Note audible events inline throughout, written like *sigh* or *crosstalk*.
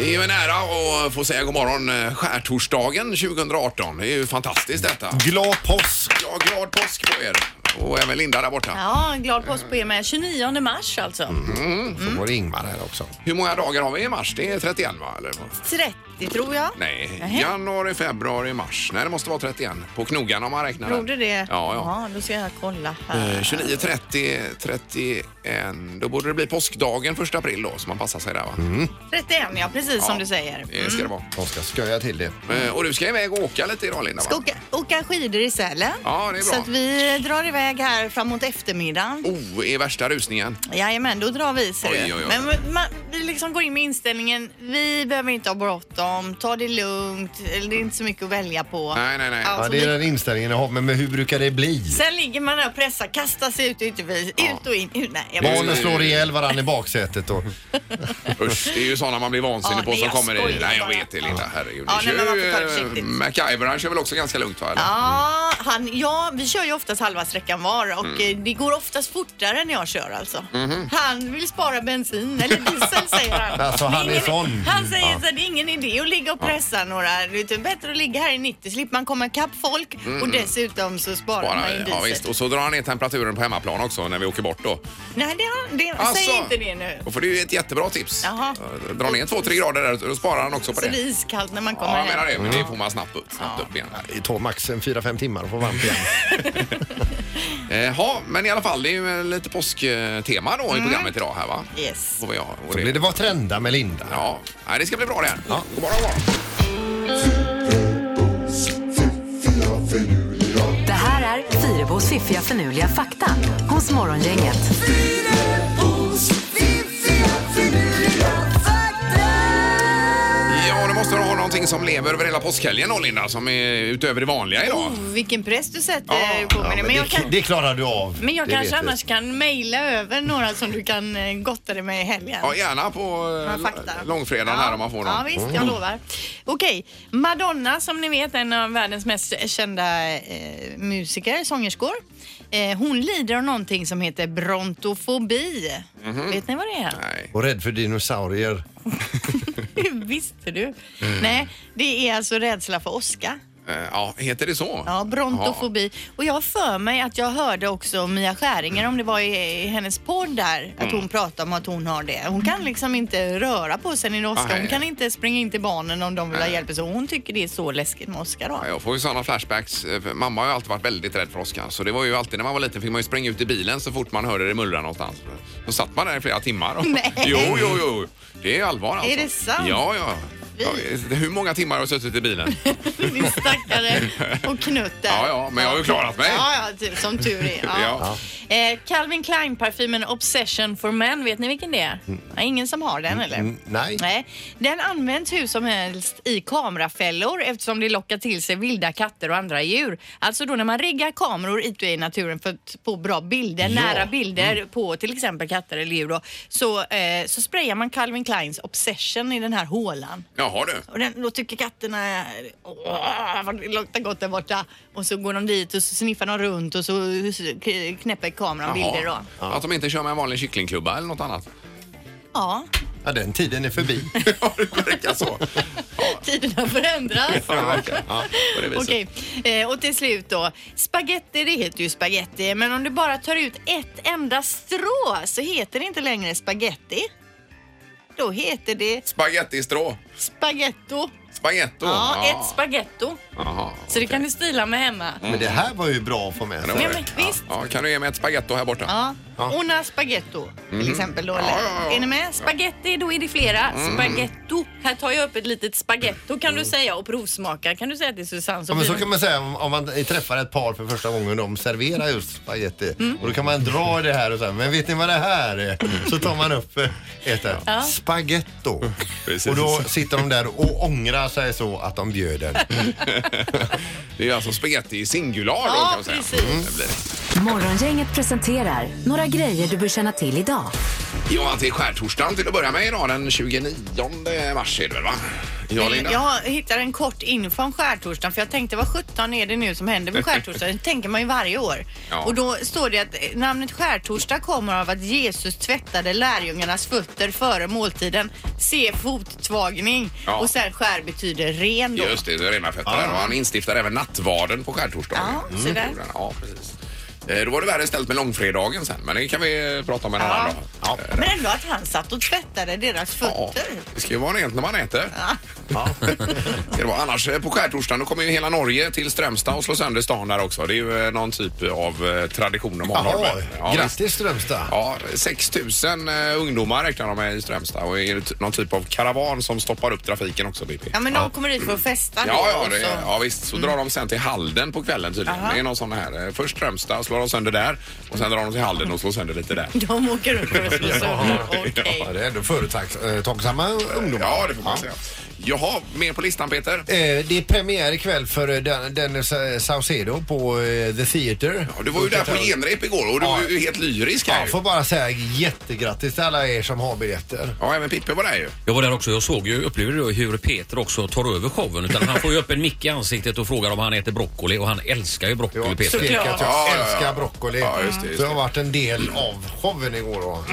ju en ära att få säga god morgon eh, skärtorsdagen 2018. Det är ju fantastiskt detta. Glad påsk! Ja, glad påsk på er och även Linda där borta. Ja, glad påsk på er med. 29 mars alltså. Mm. Så var det Ingmar här också. Hur många dagar har vi i mars? Det är 31 va? Eller? 30 tror jag. Nej, Nähä. januari, februari, mars. Nej, det måste vara 31. På knogarna om man räknar. Tror du det? Ja, ja. Då ska jag kolla Eh, här. 29, 30, 31. Då borde det bli påskdagen 1 april då, så man passar sig där va? Mm. 31 ja, precis som du säger. Mm. Det ska det vara. De ska sköja till det. Eh, Och du ska iväg och åka lite idag Linda va? Ska åka, åka skidor i Sälen. Ja, det är bra. Så att vi drar iväg här framåt eftermiddagen. Oh, i värsta rusningen. Jajamän, då drar vi ser Oh. Oj, du. oj, oj. Men man, vi liksom går in med inställningen, vi behöver inte ha bråttom, ta det lugnt, eller det är inte så mycket att välja på. Nej, nej, nej. Ja, Ja, så det är vi- den inställningen jag har, Alltså, men men hur brukar det bli? Sen ligger man där och pressar, kastar sig ut och ut, och in, ut och in. Ut, nej, jag bara- Barnen slår ihjäl varandra i baksätet och Usch, det är ju sådana man blir vansinnig Ja, på nej, som jag kommer i. skojar Nej, jag bara. vet det Linda. Herregud. Ja, Du nej, men man kör ju, får ta det eh, försiktigt. MacGyver, han kör väl också ganska lugnt va? eller? Ja, han, ja, vi kör ju oftast halva sträckan var och Mm. eh, det går oftast fortare när jag kör alltså. Mhm. Han vill spara bensin, eller diesel säger han. *laughs* Alltså, han Det är sån. Han säger så att det är ingen idé att ligga och pressa några. Det är typ bättre att ligga här i 90 slipper man komma ikapp folk och dessutom så sparar Bara, man ju diesel. Mm. ja, visst. Och så drar han ner temperaturen på hemmaplan också när vi åker bort då. Nej, det, har- det, Alltså. säg inte det nu. Och för det är ju ett jättebra tips. Jaha. Eh, Dra ner två, tre grader där då sparar han också på Så det det. är iskallt när man kommer Ja, jag menar hem. det. Men det får man snabbt upp, snabbt upp igen. det tar max en 4-5 timmar att få varmt igen. Eh, Ja, men i alla fall, det är ju eh, lite påsktema då i programmet idag här va? Mm. Yes. Får vi ha. Och Då blir det Vad trendar med Linda. Ja, nej, det ska bli bra det här. God morgon, god morgon. Det här är Fyrabos fiffiga förnuliga fakta hos Morgongänget. Ja, det måste ha någonting som lever över hela påskhelgen då Linda, som är utöver det vanliga idag. Oh, vilken press du sätter Ja, på ja, mig. nu. men men jag det, kan... det klarar du av. Men jag Det kanske vet vi. annars kan mejla över några som du kan eh, gotta dig med i helgen. Ja, gärna på eh, Några fakta. långfredagen ja. här om man får Ja, dem. Mm. visst, jag lovar. Okej, Madonna som ni vet en av världens mest kända eh, musiker, sångerskor. Eh, hon lider av någonting som heter brontofobi. Vet ni vad det är? Mhm. Nej. Och rädd för dinosaurier. Hur *laughs* visste du? Mm. Nej, det är alltså rädsla för åska. Eh, Ja, heter det så? Ja, brontofobi. Och jag har för mig att jag hörde också Mia Skäringer, om det var i, i hennes podd där, Mm. att hon pratade om att hon har det. Hon kan liksom inte röra på sig när det är åska. Nej. Hon kan inte springa in till barnen om de vill ha hjälp. Så hon tycker det är så läskigt med åska då. Ja, *laughs* Jag får ju sådana flashbacks. Eh, för Mamma har ju alltid varit väldigt rädd för åskan. Så det var ju alltid när man var liten fick man ju springa ut i bilen så fort man hörde det mullra någonstans. Då satt man där i flera timmar. Och... Nej. Jo, jo, jo. Det är allvar alltså. Är det sant? Ja, ja. ja. Hur många timmar har jag suttit i bilen? Din stackare och Knut där. *laughs* Ja, ja, men jag har ju klarat mig. Ja, ja, ty- som tur är. *laughs* Ja. Eh, Calvin Klein-parfymen Obsession for Men, vet ni vilken det är? Ja, ingen som har den eller? Mm, nej. Nej, den används hur som helst i kamerafällor eftersom det lockar till sig vilda katter och andra djur. Alltså då när man riggar kameror ute i naturen för att få bra bilder, nära bilder Mm. på till exempel katter eller djur då, så, eh, så sprayar man Calvin Kleins Obsession i den här hålan. Jaha du. Och den, då tycker katterna åh, vad det luktar gott där borta. Och så går de dit och så sniffar de runt och så k- knäpper kameran bilder då. Att de inte kör med en vanlig kycklingklubba eller något annat. *laughs* Ja, Ja, den tiden är förbi. Ja, det verkar så. tiderna förändras. Ja, det verkar. Ja, på det viset. *laughs* Okej, eh, och till slut då. Spaghetti, det heter ju spaghetti, men om du bara tar ut ett enda strå så heter det inte längre spaghetti. Då heter det Spagettistrå. spagetto. Spagetto. Ja, ett spagetto. Jaha. Så det kan du stila med hemma. Men det här var ju bra att få med sig. Ja, men visst. Ja, kan du ge mig ett spagetto här borta? Ja. Una spaghetto till exempel då. Eller? Ja, ja, Mm. ja. Mm. Är ni med? Spaghetti, då är det flera. Spaghetto. Här tar jag upp ett litet spaghetto kan du säga och provsmaka. Kan du säga till Susanne? Ja, men så blir- kan man säga om, om man träffar ett par för första gången och de serverar just spagetti. Och då kan man dra i det här och säga, men vet ni vad det här är? Så tar man upp eh, ett här. Spagetto. *laughs* Precis. Och då sitter de där och ångrar sig så att de bjöd *laughs* den. Det är alltså spagetti i singular då Ja, kan man säga. Mm. precis. Det blir det. Morgongänget presenterar några grejer du bör känna till idag. Ja, att det är skärtorsdagen till att börja med idag den 29 mars är det väl va? Ja, Linda? Jag hittar en kort info om skärtorsdagen för jag tänkte vad 17 är det nu som händer med skärtorsdagen? Det tänker man ju varje år. Ja. Och då står det att eh, namnet skärtorsdag kommer av att Jesus tvättade lärjungarnas fötter före måltiden. Se fottvagning. Ja. Och sen skär betyder ren då. Just det, det är rena fötter där. Och han instiftar även nattvarden på skärtorsdagen. Mm. Ja, se där. Ja, precis. Eh, Då var det värre ställt med långfredagen sen, men det kan vi eh, prata om en Ja. annan dag. Eh, Ja. Men ändå att han satt och tvättade deras Ja, fötter. det ska ju vara rent när man äter. det var. Annars eh, på skärtorsdagen då kommer ju hela Norge till Strömstad och slår sönder stan där också. Det är ju eh, någon typ av eh, tradition de har. Jaha, Norrmän. Ja, visst. grattis Strömstad. Ja, 6 000 eh, ungdomar räknar de med i Strömstad och är det t- någon typ av karavan som stoppar upp trafiken också, BP. Ja men de kommer dit för att festa då, Ja, ja, och det, Mm. så- ja visst. Så drar de sen till Halden på kvällen tydligen. Aha. Det är någon sån här. eh, Först Strömstad, slår de sönder där och sen drar de till Halden och slår sönder lite där. De åker upp och slår sönder. Okej. Ja, det är ändå företagsamma ungdomar. Ja, det får man säga. Jaha, mer på listan Peter? Eh, Det är premiär ikväll för eh, den, Dennis eh, Saucedo på eh, The Theatre. Ja, du var ju där på E- genrep igår och du Ja. var ju helt lyrisk här. Ja, ju. får bara säga jättegrattis till alla er som har biljetter. Ja, även Pippe var där ju. Jag var där också. Jag såg ju, upplevde ju hur Peter också tar över showen. Utan han får ju upp en mick i ansiktet och frågar om han äter broccoli och han älskar ju Jag broccoli har Peter. stekat, jag Ja, ja, ja. älskar broccoli. Ja, just det, Mm. just Så jag har varit en del av showen igår. Då.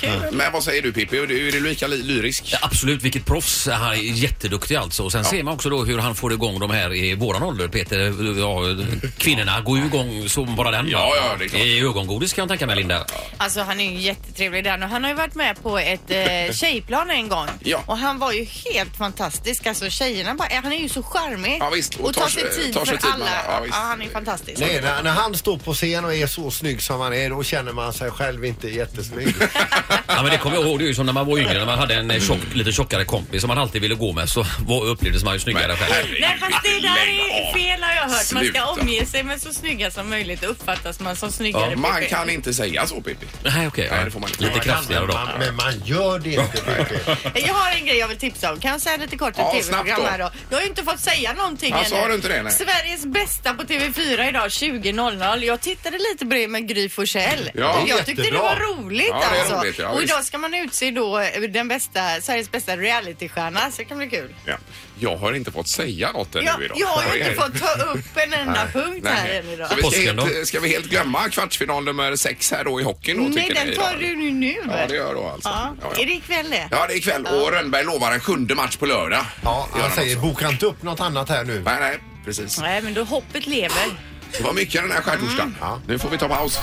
Kul. Men vad säger du Pippi? Är du är du lika li- lyrisk? Ja, Absolut, vilket proffs. Han är jätteduktig alltså. Och sen ser man också då hur han får igång de här i våran ålder, Peter. Ja, kvinnorna går ju igång som bara den. va? Ja, ja, det är klart. I ögongodis kan jag tänka mig, Linda. Alltså han är ju jättetrevlig där och han har ju varit med på ett *laughs* eh, tjejplan en gång Ja. och han var ju helt fantastisk. Alltså tjejerna bara, han är ju så charmig Ja, visst. och, tar sig tid tar sig för tid med alla. alla. Ja, visst. han är fantastisk. Nej, när, när han står på scen och är så snygg som han är, då känner man sig själv inte *laughs* jättesnygg. Ja, men det kommer jag ihåg. Det är ju som när man var yngre, när man hade en eh, tjock, lite tjockare kompis som man alltid ville gå med så var, upplevdes man ju snyggare själv. Nej fast det där Lägg av. är fel har jag hört. Man Sluta. ska omge sig med så snygga som möjligt och uppfattas man som snyggare. Ja, Man på- kan inte säga så Pippi. Nej, okej. Nej, ja. det får man inte. lite Man kan, kraftigare då. Man, men man gör det inte. Peter. Jag har en grej jag vill tipsa om. Kan jag säga lite kort om Ja, snabbt då. tv-program här då? Jag har ju inte fått säga någonting Alltså, har du inte det, nej? Sveriges bästa på TV4 idag 20.00. Jag tittade lite på det med Gry Forssell. Ja, jag tyckte det jättebra. var roligt Ja, det är alltså. roligt, ja, och idag visst. ska man utse då eh, den bästa, Sveriges bästa realitystjärna så det kan bli kul. Ja. Jag har inte fått säga något ännu Jag, idag. jag har ju Nej. inte fått ta upp en enda punkt här Nej. än idag. Så vi ska, Påsken helt, ska vi helt glömma kvartsfinal nummer sex här då i hockeyn då Nej, tycker ni den idag? tar du nu. nu Ja, det gör du alltså. Ja. Ja, Är det ikväll det? Ja, det är ikväll och Rönnberg lovar en sjunde match på lördag. Ja, Gör jag han säger, också. boka inte upp något annat här nu. Nej, nej, precis. Nej, men då hoppet lever. Det var mycket den här skärtorsdagen. Mm. Nu får vi ta paus.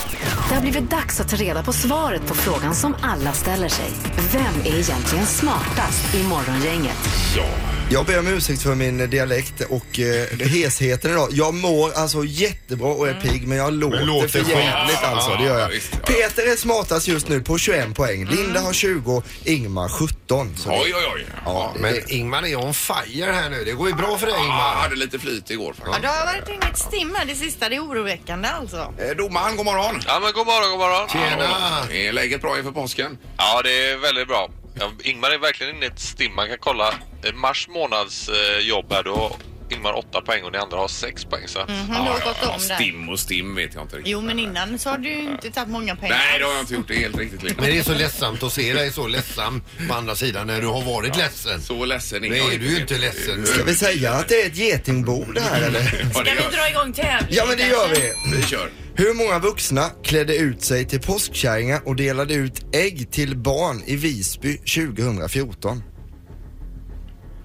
Det har blivit dags att ta reda på svaret på frågan som alla ställer sig. Vem är egentligen smartast i Morgongänget? Ja. Jag ber om ursäkt för min dialekt och eh, hesheten idag. Jag mår alltså jättebra och är Mm. pigg men jag låter, låter för skit. jävligt alltså. Det gör Ja, jag. visst, ja. Peter är smartast just nu på 21 poäng. Linda har 20, Ingmar 17. Så det- Oj, oj, oj. Ja. Ja, men- Men Eh, Ingmar är on fire här nu. Det går ju bra för dig Ah, Ingmar. hade lite flyt igår Ja, faktiskt. det har varit inget stim här det sista. Det är oroväckande alltså. Eh, Domaren, god morgon. Ja men god morgon, god morgon. Tjena! Är läget bra inför påsken? Ja det är väldigt bra. Ja, Ingmar är verkligen inne i ett stim. Man kan kolla eh, mars månads eh, jobb här. Då har Ingmar 8 poäng och ni andra har 6 poäng. Så att- Mhm. Han har gått om där. Stim och stim vet jag inte riktigt. Jo, men innan så har du ju inte tagit många pengar. Nej, det har jag inte gjort. Det är helt riktigt. Linda. Men det är så ledsamt att se dig så ledsam på andra sidan när du har varit ledsen. Så ledsen Nej, jag du är ju inte ledsen. Ska vi säga att det är ett getingbo det här eller? Ja, det Ska gör vi dra igång tävlingen? Ja men det gör kanske? vi. vi. Vi kör. Hur många vuxna klädde ut sig till påskkärringar och delade ut ägg till barn i Visby 2014?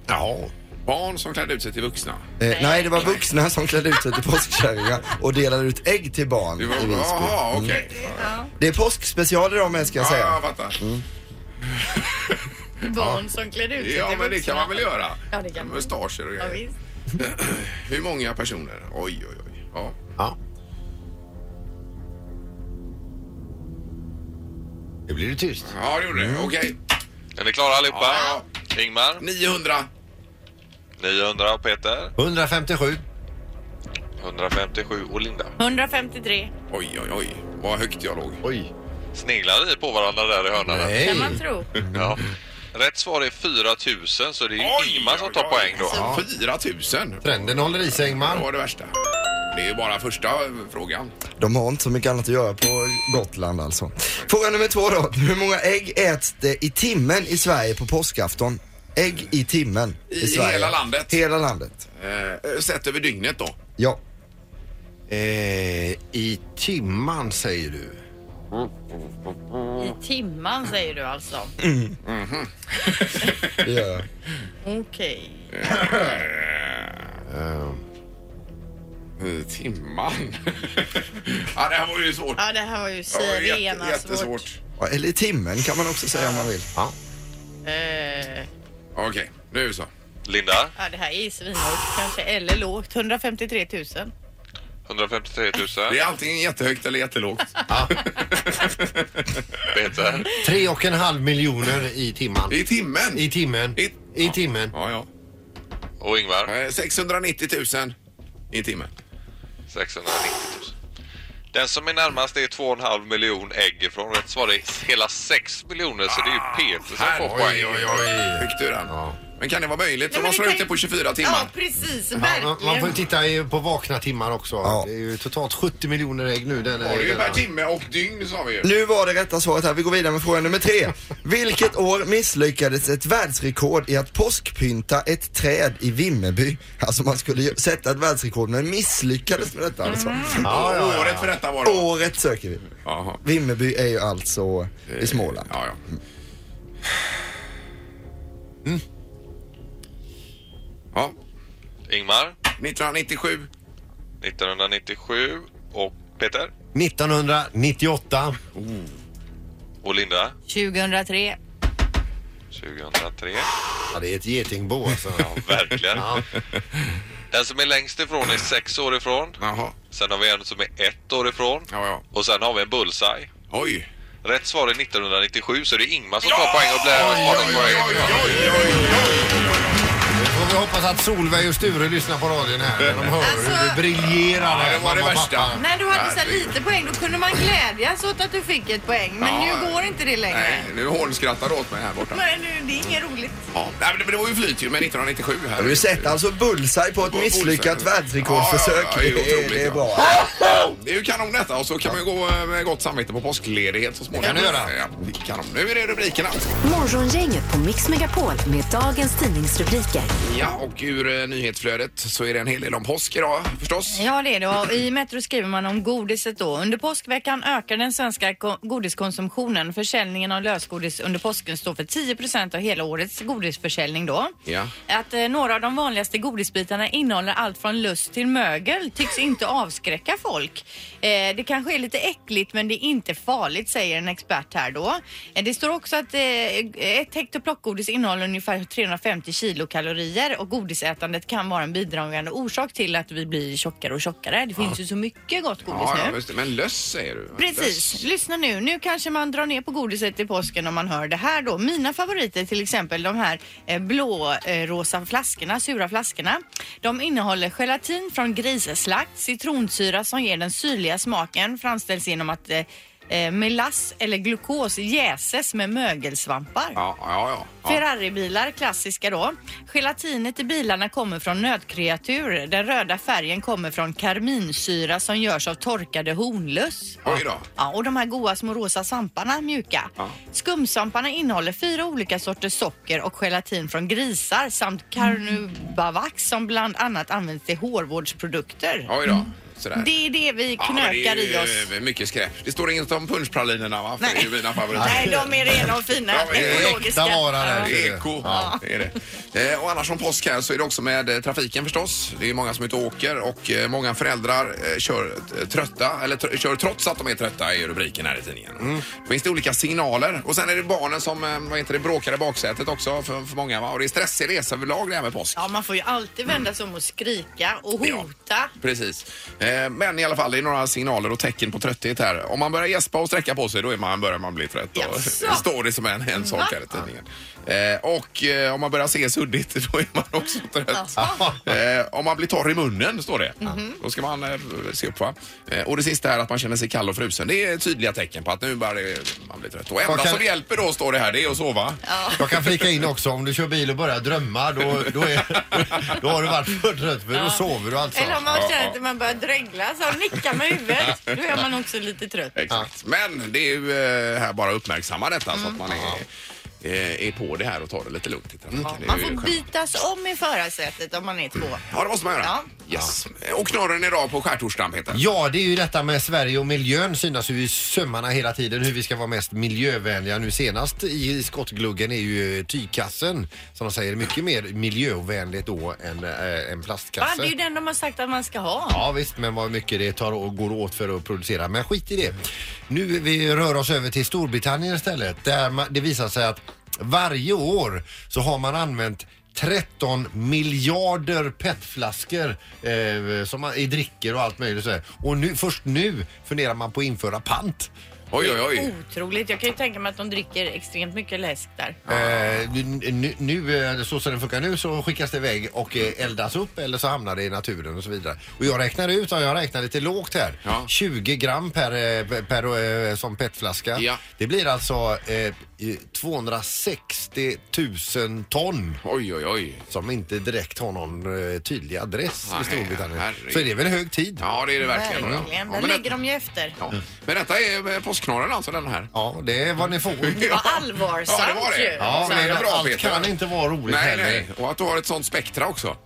Ja. Barn som klädde ut sig till vuxna. Eh, nej, det var vuxna som klädde ut sig till påskkärringar och delade ut ägg till barn Det i var... Visby. Mm. Jaha, okej. Det är påskspecial idag med ska jag Ja, säga. jag Mm. fattar. Barn som klär ut sig Ja, till men det vuxna. kan man väl göra? Ja, det kan man. Mustascher och Ja, grejer. visst. *clears throat* Hur många personer? Oj, oj, oj. Ja. ja. Nu blir det tyst. Ja, det gjorde det. Okej. Är ni klara allihopa? Ja, Ingmar, 900. 900 och Peter, 157. 157 och Linda. 153. Oj, oj, oj. Vad högt jag låg. Oj. Sneglar ni på varandra där i hörnan? Kan Nej. Mm. man tro. Ja. Rätt svar är 4000 så det är ju Oj, Ingmar som tar oj, oj. poäng då. Ja. 4 000. Trenden håller i sig Det Ingmar. var det värsta. Det är ju bara första eh, frågan. De har inte så mycket annat att göra på Gotland alltså. Fråga nummer två då. Hur många ägg äts det i timmen i Sverige på påskafton? Ägg i timmen i, I Sverige. hela landet? Hela landet. Eh, sett över dygnet då. Ja. Eh, I timman säger du. I timman säger du alltså. Det gör jag. Mm. Okej. Eh, timman. *laughs* ja, det här var ju svårt. Ja, det här var ju Det var ju rena svårt. jättesvårt. Ja, Eller i timmen kan man också säga om man vill. Eh, Okej, nu så. Linda, Ja, det här är svinhögt kanske, eller lågt. 153 000. 153 Det 000. är antingen jättehögt eller jättelågt. Peter, Tre och en halv miljoner i timman. I timmen. I timmen. I- I timmen. Ja, ja. och Ingvar, Eh, 690 000 i timmen. 690 000. Den som är närmast är 2,5 miljon ägg ifrån rätt svar är hela 6 miljoner så det är ju Ah, Peter som får poäng. oj, oj, oj. Fick du den? Ja. Men kan det vara möjligt? Så de Nej, men slår det ut det kan- på 24 Ja, timmar. precis. Man, man får ju Verkligen. titta i- på vakna timmar också. Det är ju totalt 70 miljoner ägg nu. Den, Ja, det är ju den, per timme och dygn sa vi ju. Nu var det rätta svaret här. Vi går vidare med fråga nummer tre. Vilket år misslyckades ett världsrekord i att påskpynta ett träd i Vimmerby? Alltså man skulle ju sätta ett världsrekord men misslyckades med detta alltså. ja, ja, ja. Året för detta var det. Året söker vi. Jaha. Vimmerby är ju alltså i Småland. Ja, ja. Mm. Ja, Ingmar, 1997. 1997 och Peter 1998. och Linda, 2003. 2003. Ja, det är ett getingbo alltså. Verkligen. Ja. Den som är längst ifrån är 6 år ifrån. Jaha. Sen har vi en som är 1 år ifrån. Ja, ja. Och sen har vi en bullseye. Oj. Rätt svar är 1997 så det är Ingmar som tar poäng och blir har den poäng. Nu får vi hoppas att Solveig och Sture lyssnar på radion här. när De hör hur det briljerar. Alltså, här, Ja, det var det mamma och värsta. pappa. När du hade så här lite poäng då kunde man glädjas åt att du fick ett poäng. Men Ja. nu går inte det längre. Nej, nu hånskrattar du åt mig här borta. Nej, nu, det är inget roligt. Ja. Nej, men det- det var ju flyt ju med 1997 här. Har du sett alltså bullseye på ett misslyckat världsrekordförsök? Ja, ja, ja, det är otroligt, det är ja. bra. Det är ju kanon detta och så kan man ju gå eh, med gott samvete på påskledighet så småningom. Det kan du göra. Ja, det kan de. Nu är det rubrikerna. Morgongänget på Mix Megapol med dagens tidningsrubriker. Ja, och ur eh, nyhetsflödet så är det en hel del om påsk idag förstås. Ja, det är det. Och I Metro skriver man om godiset då. Under påskveckan ökar den svenska ko- godiskonsumtionen. Försäljningen av lösgodis under påsken står för 10 av hela årets godisförsäljning då. Ja. Att eh, några av de vanligaste godisbitarna innehåller allt från lust till mögel tycks inte avskräcka folk. Eh, det kanske är lite äckligt men det är inte farligt säger en expert här då. Eh, det står också att eh, ett hekto plockgodis innehåller ungefär 350 kilokalorier och godisätandet kan vara en bidragande orsak till att vi blir tjockare och tjockare. Det finns ju så mycket gott godis Ja, nu. ja, just det. Men löss säger du. Precis. Löss. Lyssna nu. Nu kanske man drar ner på godiset i påsken om man hör det här då. Mina favoriter till exempel de här eh, blårosa flaskorna, sura flaskorna. De innehåller gelatin från grisslakt, citronsyra som ger den syrliga smaken, framställs genom att eh, eh, melass eller glukos jäses med mögelsvampar. Ja, ja, ja. ja. Ferraribilar, klassiska då. Gelatinet i bilarna kommer från nötkreatur. Den röda färgen kommer från karminsyra som görs av torkade hornlöss. Oj då. Ja, och de här goa små rosa svamparna, mjuka. Ja. Skumsvamparna innehåller fyra olika sorters socker och gelatin från grisar samt carnubavax som bland annat används till hårvårdsprodukter. Oj då. Sådär. Mm. Det är det vi Ja, men knökar det är ju, i oss. eh, Mycket skräp. Det står inget om punschpralinerna va? För Nej. det är ju mina favoriter. Nej, de är rena och fina. Ja, men det är äkta ekologiska. vara där. Ja. Det är Eko, det är det. Eh, Och annars som påsk här så är det också med eh, trafiken förstås. Det är många som inte åker och eh, många föräldrar eh, kör eh, trötta, eller tr- kör trots att de är trötta i rubriken här i tidningen. Då finns det olika signaler. Och sen är det barnen som, eh, vad heter det, bråkar i baksätet också för, för många va? Och det är stressig resa överlag det här med påsk. Ja, man får ju alltid vända sig om och skrika och Ja. hota. Precis. Eh, Men i alla fall, det är några signaler och tecken på trötthet här. Om man börjar gäspa och sträcka på sig, då är man, börjar man bli trött. Då Jaså? står det som en, en sak här i tidningen. Eh, Och eh, om man börjar se suddigt, *laughs* då är man också Alltså. trött. Eh, Om man blir torr i munnen, står det. Då ska man eh, se upp, va? Eh, Och det sista här, att man känner sig kall och frusen. Det är tydliga tecken på att nu börjar det- man bli trött. Och enda kan- som hjälper då, står det här, det är att sova. Jag kan flika in också om du kör bil och börjar drömma då, då, är, då har du varit för trött för då sover du alltså. Eller om man känner att man börjar drömma regla, så nickar med huvudet. Då är man också lite trött. Exakt. Men det är ju eh, här bara att uppmärksamma detta så att man är, eh, är, är på det här och tar det lite lugnt i trafiken. Det är Man ju får skönt. bitas om i förarsätet om man är två. Ja, det måste man göra. Yes. Och knorren idag på skärtorsdagen, Peter. Ja, det är ju detta med Sverige och miljön synas ju i sömmarna hela tiden hur vi ska vara mest miljövänliga. Nu senast i skottgluggen är ju tygkassen som de säger mycket mer miljövänligt då än äh, en Ja, plastkasse. det är ju den de har sagt att man ska ha. Ja visst, men vad mycket det tar och går åt för att producera. Men skit i det. Nu vi rör oss över till Storbritannien istället där man, det visar sig att varje år så har man använt 13 miljarder petflaskor eh, som man, i drycker och allt möjligt. Så här. Och nu, först nu funderar man på att införa pant. Oj, oj, Oh. oj. Otroligt. Jag kan ju tänka mig att de dricker extremt mycket läsk där. Eh, nu- nu, nu, eh, så som den funkar nu så skickas det iväg och eh, eldas upp eller så hamnar det i naturen och så vidare. Och jag räknar ut, och jag räknar lite lågt här, Ja. 20 gram per, eh, per eh, som petflaska. Ja. Det blir alltså eh, i 260 000 ton Oj, oj, oj. som inte direkt har någon eh, tydlig adress Nej, i Storbritannien. herregud. Så det är väl hög tid. Ja, det är det verkligen. Verkligen. Ja, Där men, ligger det, de ju efter. ja. men detta är eh, påskknorren alltså, den här. Ja, det är vad *laughs* ni får. Ja. Vad allvarsamt Ja, det var det. ju. Ja, men det är bra, allt Peter. kan inte vara roligt Nej, heller. nej. Och att du har ett sånt spektra också.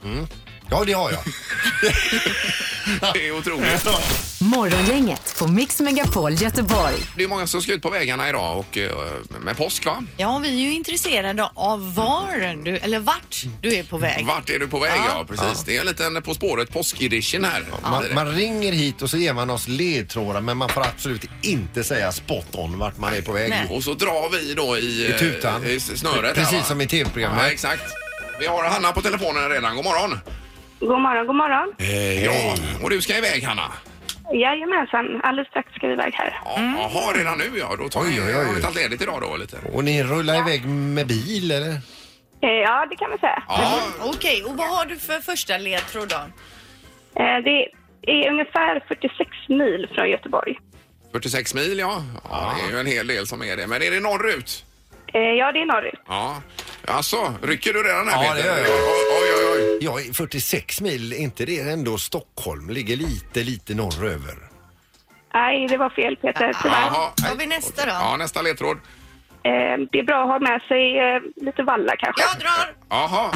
Ja, det har jag. Det är otroligt. Morgongänget på Mix Megapol Göteborg. Det är många som ska ut på vägarna idag och eh, med påsk, va? Ja, vi är ju intresserade av var du, eller vart du är på väg. Vart är du på väg? Ja, precis. Det är en liten På spåret påskedition här. Man, Det är det. man ringer hit och så ger man oss ledtrådar men man får absolut inte säga spot on vart man är på väg. Nej. Och så drar vi då i, I tutan. eh, i s- snöret. Precis här, va? som i TV-programmet. Ja, exakt. Vi har Hanna på telefonen redan. God morgon. God morgon, god morgon. Ja, och du ska iväg Hanna? Jajamensan, alldeles strax ska vi iväg här. Ja, Mm. Jaha, redan nu ja. Då tar Oj, ni, oj, oj. har ni tagit ledigt idag då lite? Och ni rullar iväg med bil eller? Eh, ja, det kan man säga. Ja, Okej, och vad har du för första ledtråd då? Eh, det är ungefär 46 mil från Göteborg. 46 mil ja. ja. Det är ju en hel del som är det. Men är det norrut? Eh, ja, det är norrut. Ja. Alltså, rycker du redan här Ja, Peter? det gör jag. Oj, oj, oj. Ja, 46 mil, är inte det ändå Stockholm? Ligger lite, lite norröver. Nej, det var fel Peter, tyvärr. Jaha. Har vi nästa då? Ja, nästa ledtråd. Eh, det är bra att ha med sig eh, lite valla kanske. Jag drar! Jaha.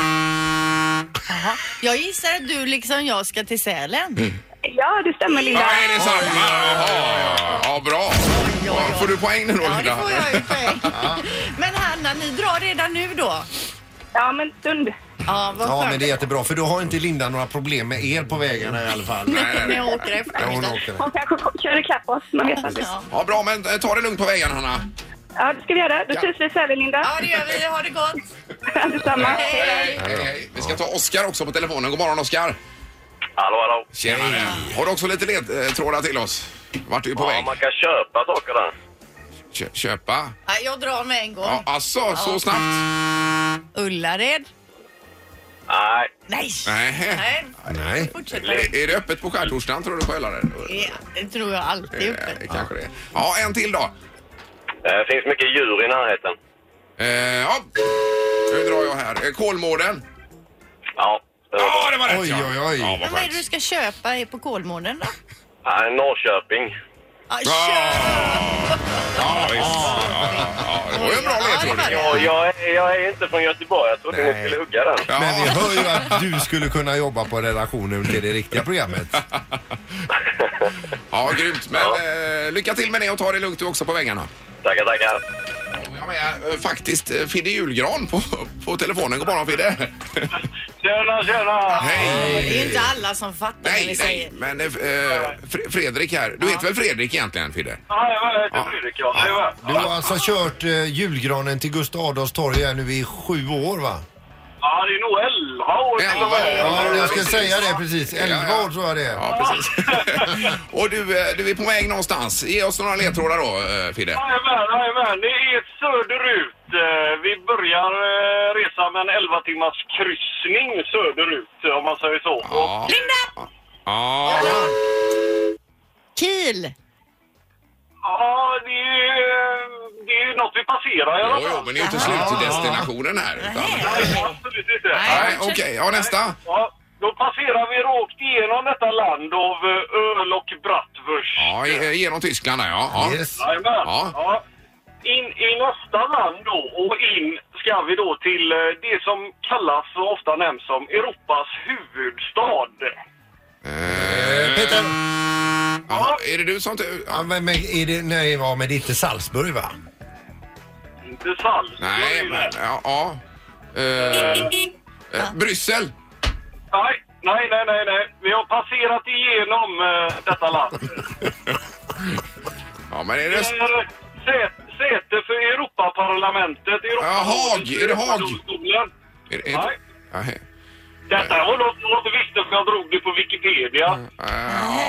Jaha. Jag gissar att du liksom jag ska till Sälen. Ja, det stämmer Linda. Ja, är det samma? Jaha, ja. Ja, bra. Ja, Får du poäng nu då, Ja, det Linda? får jag ju poäng. Men Hanna, ni drar redan nu då? Ja, men stund. Ja, vad Ja, skönt. men det är jättebra för då har inte Linda några problem med er på vägarna i alla fall. Nej, nej, När nej. jag åker Ja, efter. hon åker. Hon kanske kom- kör ikapp oss, man vet aldrig. Ja. Ja, bra, men eh, ta det lugnt på vägen, Hanna. Ja, det ska vi göra. Då ses vi i Sälen Linda. ja, det gör vi. Ha det gott. Detsamma. Hej, hej, hej. Vi ska ta Oskar också på telefonen. God morgon, Oskar. Hallå, hallå. Tjenare. Har du också lite ledtrådar till oss? Vart är du på Ja, väg? man kan köpa saker där. Kö- köpa? Ja, jag drar med en gång. Ja, alltså, så snabbt? Ullared? Nej, Nej. Nej. Nej. Nej. Fortsätt. Är- Är det öppet på skärtorsdagen tror du på Ullared? Ja, Det tror jag alltid är öppet. Eh, Kanske det. Ja, en till då. det finns mycket djur i närheten. Eh, ja. Nu drar jag här. Eh, Kolmården. Ja, det var Ja, bra. det var rätt Oj, ja. oj, oj. Ja, vad Men vad är det du skönt. ska köpa i- på Kolmården då? Nej, Norrköping. Ja, Ja, köp! ja, visst. Ja, ja, ja. Det var ju en bra Ja, det var ledtråd. det. Ja, jag, är, jag är inte från Göteborg. Jag trodde Nej. ni skulle hugga den. Ja. Men vi hör ju att du skulle kunna jobba på redaktionen till det riktiga programmet. Ja, grymt. Men eh, lycka till med det och ta det lugnt du också på väggarna. Tackar, tackar. Jag med, eh, faktiskt eh, Fidde Julgran på, på telefonen. God morgon Fidde! Tjena, tjena! Hej! Det är ju inte alla som fattar vad Nej, vi nej, säger. men eh, Fre- Fredrik här. Du heter väl Fredrik egentligen Fidde? Ja, jag heter Fredrik. Ja, det är jag. Du har alltså kört eh, julgranen till Gustav Adolfs torg här nu i sju år va? Ja, det är nog elva år till och med. Ja, jag precis. skulle säga det precis. Elva år tror jag det är. Ja, precis. och du, eh, du är på väg någonstans. Ge oss några ledtrådar då eh, Fidde. Jajamän, jajamän. Det är söderut. Eh, Vi börjar eh, resa med en 11 timmars kryssning söderut, om man säger så. Och, Ja. Linda! Ja, Kiel! ja, det är, det är något vi passerar i alla jo, jo, fall. men det är ju inte slutdestinationen här. Utan... Nej. Nej, absolut inte. Nej, okej. Ja, nästa. Ja, Då passerar vi rakt igenom detta land av eh, öl och bratwurst. Ja, i- eh, genom Tyskland där, ja. ja. Yes. Jajamän. Ja. Ja. In i nästa land då och in ska vi då till eh, det som kallas och ofta nämns som Europas huvudstad. Eh, Peter, Jaha, är det du som... tu- ja, Ja. men, men är det, nej, ja, men det är inte Salzburg va? Inte Salzburg. Nej, men... Ja. ja. Eh, eh, Bryssel! nej, nej, nej, nej, nej. Vi har passerat igenom eh, detta land. Ja, men är det... Det är Eh, sä- Säte för Europaparlamentet. Europarådet, Haag, är det Haag? Europadomstolen. Är, är, Nej. Nej. Detta var något jag inte visste för jag drog det på Wikipedia. Mm.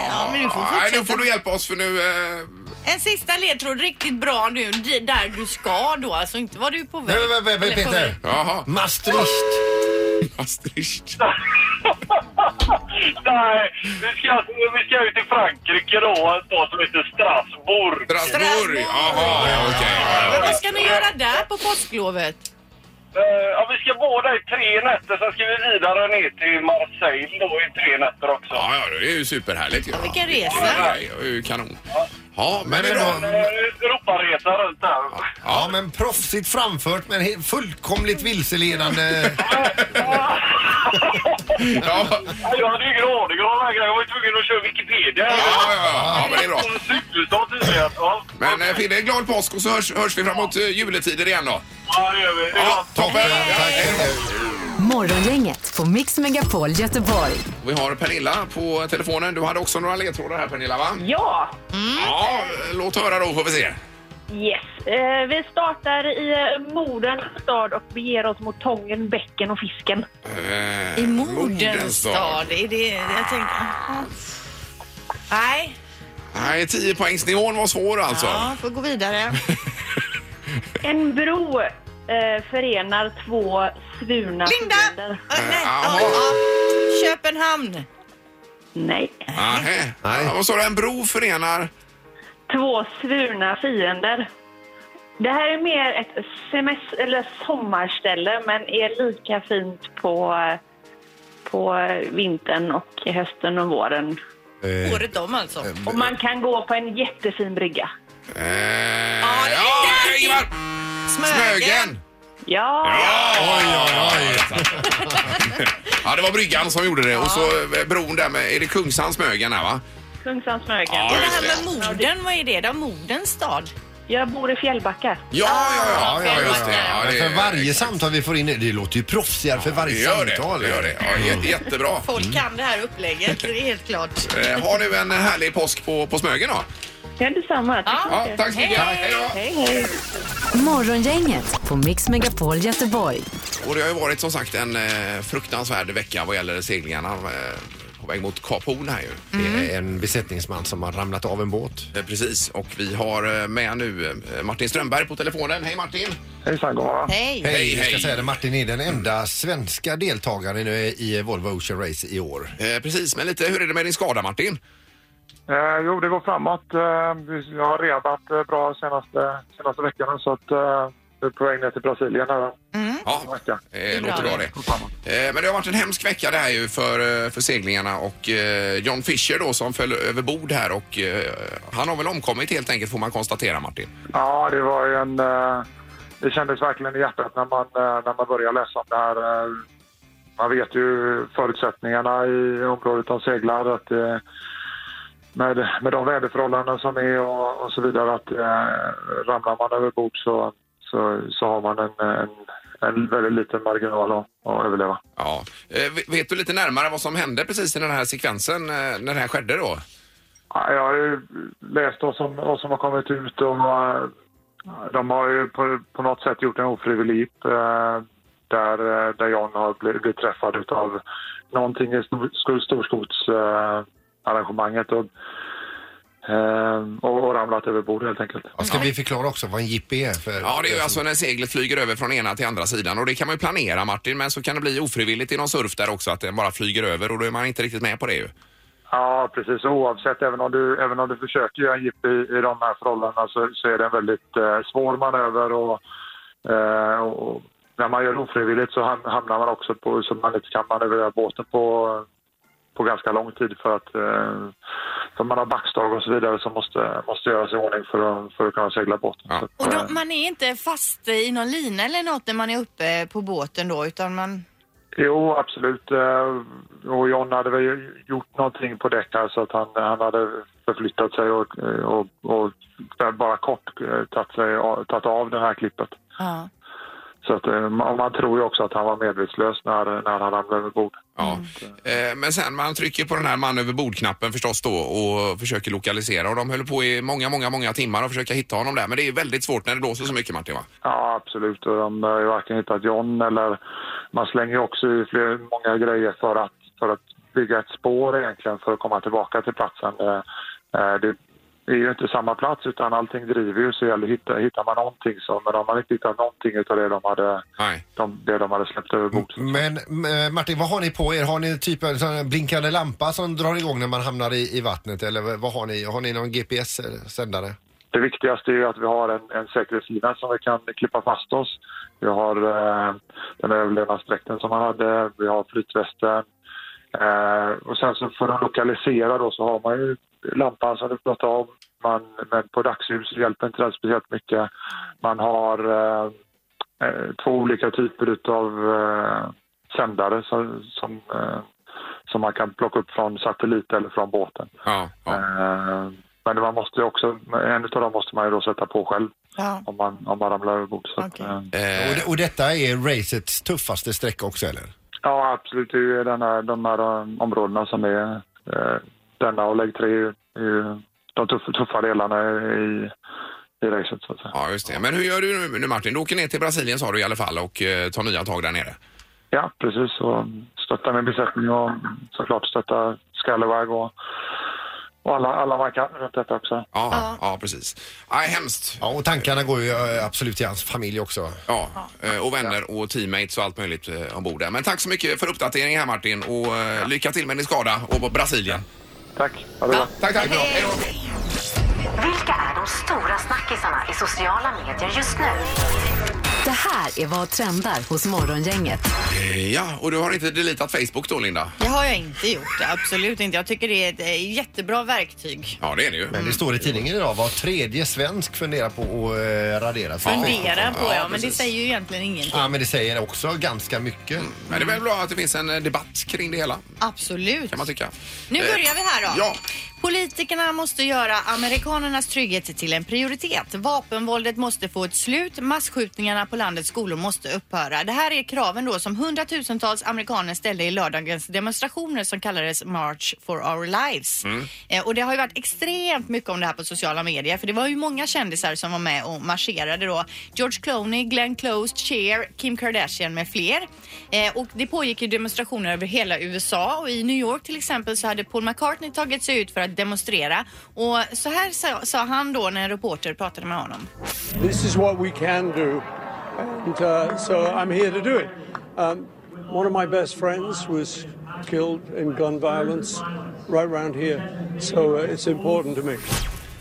Ja, men du får Nej, nu får fortsätta. du hjälpa oss för nu... Eh, En sista ledtråd riktigt bra nu, d- där du ska då. Alltså inte var du på väg. Nej, men, men, men, Eller på väg. Peter, jaha. Maastricht. Maastricht. Nej, vi ska, vi ska ut i Frankrike då, en stad som heter Strasbourg. Strasbourg! Jaha, ja, okej. Men vad ska ni göra där på påsklovet? Eh, ja, vi ska båda i tre nätter, sen ska vi vidare ner till Marseille då i tre nätter också. Ja, ja, det är ju superhärligt ju. Ja, vilken resa. Ja, det är ju kanon. Ja, men det är bra. Men Eh, Europaresa runt där. Ja, men proffsigt framfört men he- fullkomligt vilseledande. Ja, Ja, jag hade ju ingen aning om de här grejerna. Jag var ju tvungen att köra Wikipedia. ja, ja, ja, ja men det är bra. En superstad tydligen. Ja, Men eh, Fidde, glad påsk och så hörs, hörs vi framåt eh, juletider igen då. ja, det gör vi. Det är bra. Ja, toppen! Morgongänget på Mix Megapol Göteborg. Vi har Pernilla på telefonen. Du hade också några ledtrådar här Pernilla, va? Ja, Ja, låt höra då får vi se. yes. Eh, vi startar i eh, Modens stad och beger oss mot Tången, bäcken och fisken. Eh, I Modens stad. Är det, jag tänker, aha. Nej, Nej, 10 poängsnivån var svår alltså. ja, får *laughs* gå vidare. Äh, En bro eh, förenar två svurna Linda! fiender. Äh, Eh, nej, jaha. ja, ja. Köpenhamn. Nej. Nej. Nej. Vad sa du? En bro förenar... Två svurna fiender. Det här är mer ett semester, eller sommarställe men är lika fint på, på vintern och hösten och våren. Eh, Året om alltså. Och man kan gå på en jättefin brygga. Eh, Ja, det är där! Ingvar! Smögen! Ja, Oj, oj, oj. *laughs* ja, det var bryggan som gjorde det. Och så eh, bron där med... Är det Kungshamns Smögen här, va? Kungshamnsmögen. Ja, Det just här det. med Moden, vad är det då? Modens stad? Jag bor i Fjällbacka. Ja, ja, ja, ja, just det. Ja, men det för varje samtal vi får in, det låter ju proffsigare för det varje gör det. samtal. det, gör det. Ja, jä- jättebra. Folk Mm. kan det här upplägget, det är helt klart. Eh, Ha nu en härlig påsk på, på Smögen då. Det är detsamma. Ja, tack så mycket. Hej då. Hej, hej. Morgongänget på Mix Megapol Göteborg. Och det har ju varit som sagt en eh, fruktansvärd vecka vad gäller seglingarna eh, på väg mot Kap Horn här ju. Det är en besättningsman som har ramlat av en båt. Eh, Precis, och vi har eh, med nu eh, Martin Strömberg på telefonen. Hej Martin! Hejsan, god morgon. Hej. Hej, Hej, jag ska hej. säga det. Martin är den enda svenska deltagaren i i Volvo Ocean Race i år. Eh, Precis, men lite hur är det med din skada Martin? Eh, jo, det går framåt. Eh, vi- jag har rehabat eh, bra senaste, senaste veckan så att eh, vi är på väg ner till Brasilien här Ja, veckan. eh, bra. låter bra det. Eh, Men det har varit en hemsk vecka det här ju för, eh, för seglingarna och eh, John Fisher då som föll över bord här och eh, han har väl omkommit helt enkelt får man konstatera Martin. Ja, det var ju en... Eh, det kändes verkligen i hjärtat när man, eh, när man började läsa om det här. Eh, man vet ju förutsättningarna i området de seglar. Att, eh, med, med de väderförhållanden som är och, och så vidare. Att, eh, ramlar man över bord så, så, så har man en, en, en väldigt liten marginal att, att överleva. Ja. Eh, v- Vet du lite närmare vad som hände precis i den här sekvensen eh, när det här skedde då? Ja, Jag har ju läst vad som, vad som har kommit ut och eh, de har ju på, på något sätt gjort en ofrivillig jeep, eh, där, eh, där John har blivit, blivit träffad utav någonting i stor, storskotsarrangemanget och, eh, och, och ramlat över bord helt enkelt. Ja, Ska vi förklara också vad en jippi är? För Ja, det är ju alltså när seglet flyger över från ena till andra sidan och det kan man ju planera Martin, men så kan det bli ofrivilligt i någon surf där också att den bara flyger över och då är man inte riktigt med på det ju. Ja, precis. Oavsett, även om du, även om du försöker göra en jipp i, i de alltså, här förhållandena så, så är det en väldigt eh, svår manöver och, eh, och, när man gör det ofrivilligt så ham- hamnar man också på, så man inte kan manövrera båten på, på ganska lång tid för att eh, för man har backstag och så vidare som måste, måste göras i ordning för att, för att kunna segla båten. Ja. Så att, Och eh, då, man är inte fast i någon lina eller något när man är uppe på båten då utan man... Jo, absolut. Eh, Och John hade väl ju- gjort någonting på däck här så att han, han hade förflyttat sig och, och, och där bara kort eh, tagit, sig, av- tagit av det här klippet. Ja. Så att, eh, man man tror ju också att han var medvetslös när, när han ramlade över bord. Ja. Eh, Men sen man trycker på den här man över bord-knappen förstås då och försöker lokalisera och de höll på i många, många, många timmar och försöka hitta honom där. Men det är väldigt svårt när det blåser så mycket Martin va? Ja, absolut. Och de har ju varken hittat John eller... Man slänger ju också i fler, många grejer för att, för att bygga ett spår egentligen för att komma tillbaka till platsen. Eh, eh, Det är ju inte samma plats utan allting driver ju så gäller hitta, hittar man någonting så. Men de har inte hittat någonting av det de hade, Nej. de, det de hade släppt över bord. Men eh, Martin, vad har ni på er? Har ni typ en sån här blinkande lampa som drar igång när man hamnar i, i vattnet? Eller vad har ni? Har ni någon GPS-sändare? Det viktigaste är ju att vi har en, en säkerhetslina som vi kan klippa fast oss. Vi har eh, den där överlevnadsdräkten som han hade, vi har flytvästen. Eh, och sen så för att lokalisera då så har man ju lampan som du pratade om. Man, men på dagsljus hjälper inte den speciellt mycket. Man har eh, eh, två olika typer utav eh, sändare som, som, eh, som man kan plocka upp från satellit eller från båten. Ja. ja. Eh, Men man måste ju också, en utav dem måste man ju då sätta på själv ja. om man, om man ramlar över bord. Så att, Okej. eh, Och, Eh, det- och detta är racets tuffaste sträcka också eller? ja, absolut. Det är ju den här, de här eh, områdena som är eh, denna och lägg 3 är ju- är ju de tuffa, tuffa delarna i, i racet så att säga. Ja, just det. Men hur gör du nu, nu Martin? Du åker ner till Brasilien sa du i alla fall och eh, tar nya tag där nere. Ja, precis. Och stötta min besättning och såklart stötta Skallewag och, och alla, alla man kan runt detta också. Ja, ja. precis. Nej, hemskt. Ja, och tankarna går ju eh, absolut till hans familj också. Ja, eh, och vänner och teammates och allt möjligt eh, ombord där. Men tack så mycket för uppdateringen här Martin och eh, lycka till med din skada och på Brasilien. Tack, ha det bra. Tack, tack. Bra. Hej då. Vilka är de stora snackisarna i sociala medier just nu? Det här är vad trendar hos Morgongänget. Eh, Ja, och du har inte deletat Facebook då Linda? Det har jag inte gjort, absolut inte. Jag tycker det är ett eh, jättebra verktyg. Ja, det är det ju. Men det står i tidningen idag, var tredje svensk funderar på att eh, radera sig. Fundera på Ja, ja, men det precis. säger ju egentligen ingenting. Ja, men det säger också ganska mycket. Men det är väl bra att det finns en eh, debatt kring det hela, Absolut. kan man tycka. Nu Eh, börjar vi här då. Ja. Politikerna måste göra amerikanernas trygghet till en prioritet. Vapenvåldet måste få ett slut. Massskjutningarna på landets skolor måste upphöra. Det här är kraven då som hundratusentals amerikaner ställde i lördagens demonstrationer som kallades March for our lives. Mm. Eh, och det har ju varit extremt mycket om det här på sociala medier för det var ju många kändisar som var med och marscherade då. George Clooney, Glenn Close, Cher, Kim Kardashian med fler. Eh, och det pågick ju demonstrationer över hela USA och i New York till exempel så hade Paul McCartney tagit sig ut för att demonstrera. Och så här sa, sa han då när en reporter pratade med honom. This is what we can do, and uh, so I'm here to do it. Um, one of my best friends was killed in gun violence right round here, so uh, it's important to me.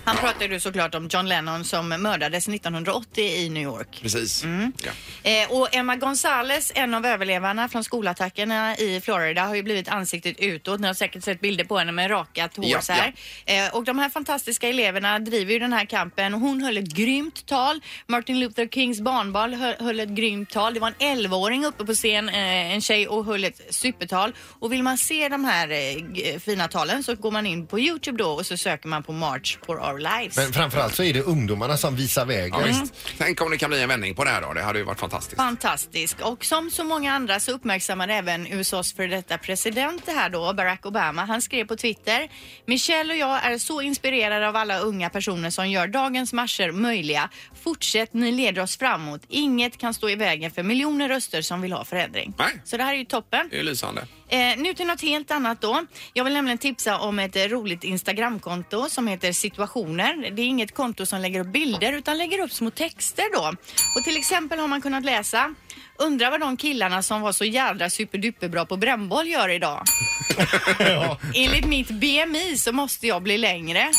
Han pratade ju såklart om John Lennon som mördades 1980 i New York. Precis. Ja. Eh, och Emma Gonzales, en av överlevarna från skolattackerna i Florida, har ju blivit ansiktet utåt. Ni har säkert sett bilder på henne med rakat hår Ja, så här. Eh, och de här fantastiska eleverna driver ju den här kampen och hon höll ett grymt tal. Martin Luther Kings barnbarn hö- höll ett grymt tal. Det var en 11-åring uppe på scen, eh, en tjej, och höll ett supertal. Och vill man se de här eh, g- fina talen så går man in på Youtube då och så söker man på March for our lives. Men framförallt så är det ungdomarna som visar vägen. Ja, visst. Tänk om det kan bli en vändning på det här då. Det hade ju varit fantastiskt. Fantastisk. Och som så många andra så uppmärksammar även USAs för detta president det här då, Barack Obama. Han skrev på Twitter. Michelle och jag är så inspirerade av alla unga personer som gör dagens marscher möjliga. Fortsätt, ni leder oss framåt. Inget kan stå i vägen för miljoner röster som vill ha förändring. Nej. Så det här är ju toppen. Det är ju lysande. Eh, nu till något helt annat då. Jag vill nämligen tipsa om ett eh, roligt Instagramkonto som heter Situationer. Det är inget konto som lägger upp bilder utan lägger upp små texter då. Och till exempel har man kunnat läsa Undrar vad de killarna som var så jädra superduperbra på brännboll gör idag. Enligt mitt BMI så måste jag bli längre.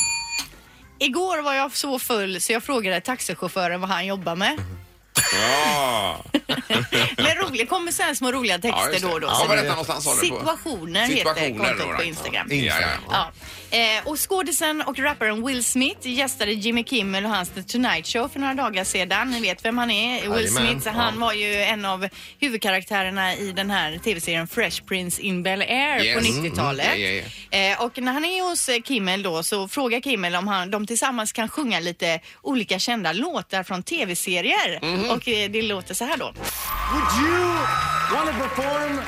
Igår var jag så full så jag frågade taxichauffören vad han jobbar med. Ja! *laughs* Det kommer så här små roliga Ja, texter just det. då och då. Ja, Så- var detta någonstans sa du? På- Situationer heter Situationer kontot då, på right. Instagram. Ja, ja, ja. Ja. Eh, och skådisen och rapparen Will Smith gästade Jimmy Kimmel och hans The Tonight Show för några dagar sedan. Ni vet vem han är. Will Jajamän. Smith, han Ja. var ju en av huvudkaraktärerna i den här tv-serien Fresh Prince in Bel-Air på Yes. 90-talet. Mm, ja, ja, Eh, och när han är hos eh, Kimmel då så frågar Kimmel om han, de tillsammans kan sjunga lite olika kända låtar från tv-serier. Mhm. Och eh, det låter så här då. Would you want to perform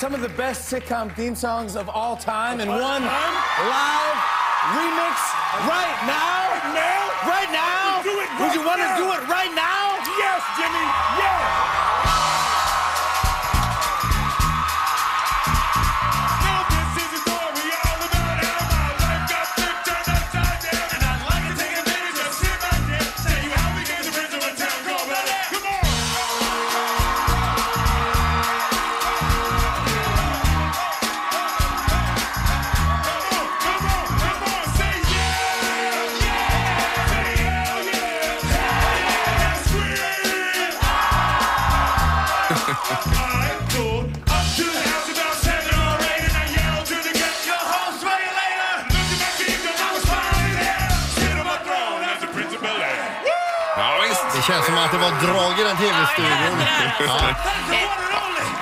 some of the best sitcom theme songs of all time in one live remix right now? Now? Right now? Do it Would right you want to now. do it right now? Yes, Jimmy. Yes. Ja, visst. Det känns som att det var drag i den tv-studion. Ja.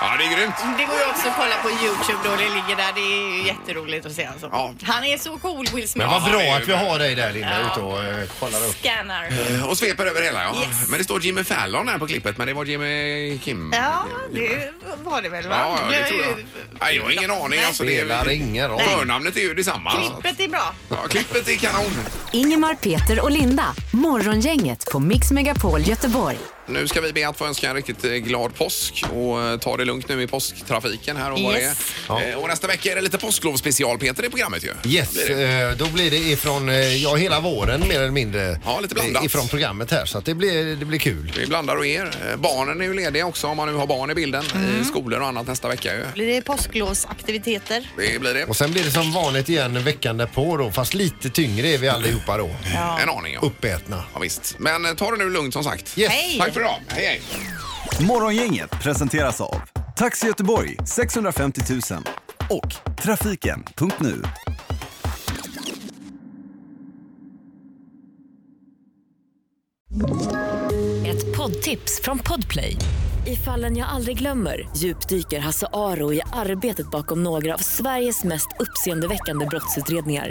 Ja, det är grymt. Eh, Det går ju också att kolla på Youtube då det ligger där. Det är ju jätteroligt att se alltså. Han är så cool Will Smith. Men vad bra att vi har har dig där Linda Ja. ute och eh, kollar upp. Scannar. Eh, Och sveper över hela ja. Yes. Men det står Jimmy Fallon här på klippet men det var Jimmy Kim. Ja, det var det väl va? Ja, ja, Det det tror jag. ju- Nej, jag har ingen aning. Alltså, det Spelar ingen roll. Förnamnet är ju detsamma. så Klippet är bra. att- Ja, klippet är kanon. Ingemar, Peter och Linda. Morgongänget på Mix Megapol Göteborg. Nu ska vi be att få önska en riktigt eh, glad påsk och eh, ta det lugnt nu i påsktrafiken här och vad det är. Yes. Eh, Och nästa vecka är det lite påsklovsspecial Peter i programmet ju. Yes, eh, då blir det ifrån, eh, ja hela våren mer eller mindre. Ja, lite blandat. Ifrån programmet här så att det blir, det blir kul. Vi blandar och er. Eh, Barnen är ju lediga också om man nu har barn i bilden Mm. i skolor och annat nästa vecka ju. Blir det påsklovsaktiviteter? Det blir det. Och sen blir det som vanligt igen veckan därpå då, fast lite tyngre är vi allihopa då. Ja. En aning om. Uppätna. Ja, visst. Men eh, ta det nu lugnt som sagt. Yes. Hej. Tack för idag. Hej, hej. Morgongänget presenteras av Taxi Göteborg 650 000 och Trafiken.nu. Ett poddtips från Podplay. I fallen jag aldrig glömmer djupdyker Hasse Aro i arbetet bakom några av Sveriges mest uppseendeväckande brottsutredningar.